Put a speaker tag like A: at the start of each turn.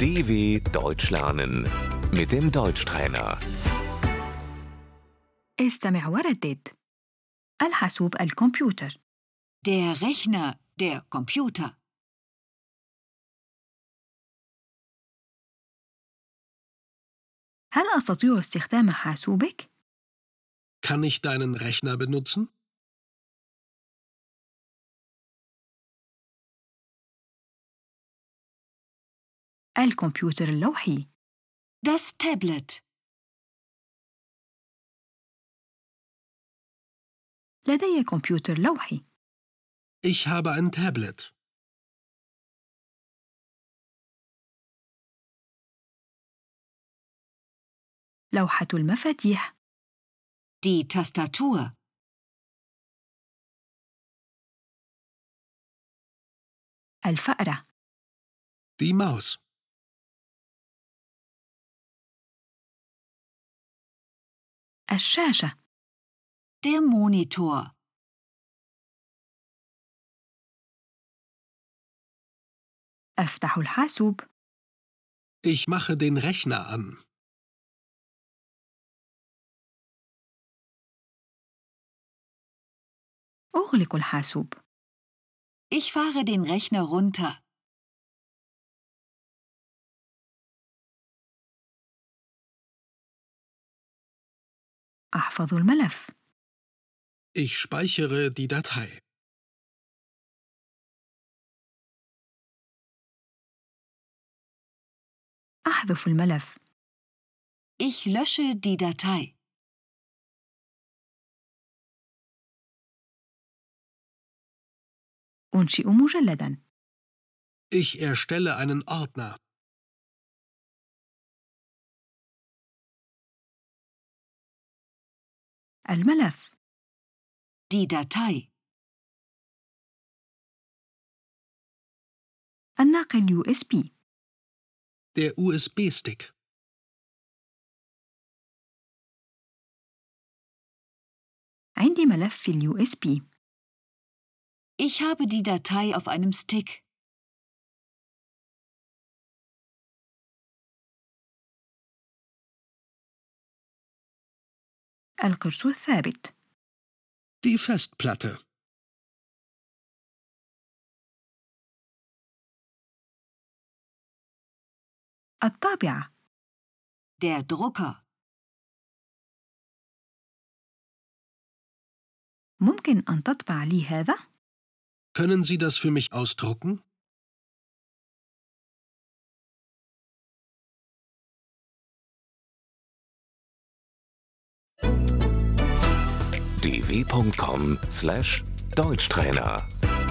A: DW Deutsch lernen mit dem Deutschtrainer.
B: استمع وردد الحاسوب الكمبيوتر
C: Der Rechner, der Computer,
B: هل أستطيع استخدام حاسوبك؟
D: Kann ich deinen Rechner benutzen?
B: الكمبيوتر اللوحي
C: das Tablet,
B: لدي كمبيوتر لوحي
D: Ich habe ein Tablet.
B: لوحة المفاتيح
C: die Tastatur,
B: الفأرة
D: Die Maus.
B: الشاشة
C: der Monitor,
B: أفتح الحاسوب
D: Ich mache den Rechner an.
B: أغلق الحاسوب
C: ich fahre den Rechner runter,
B: أحفظ الملف
D: Ich speichere die Datei.
B: أحذف الملف
C: ich lösche die Datei,
B: أنشئ مجلدا
D: Ich erstelle einen Ordner.
B: الملف
C: die Datei,
B: الناقل USB
D: Der USB-Stick.
B: عندي ملف في اليو اس بي
C: ich habe die Datei auf einem Stick,
B: القرص الثابت
D: Die Festplatte.
B: الطابعة
C: der Drucker,
B: ممكن أن تطبع لي هذا؟
D: Können Sie das für mich ausdrucken?
A: dw.com/deutschtrainer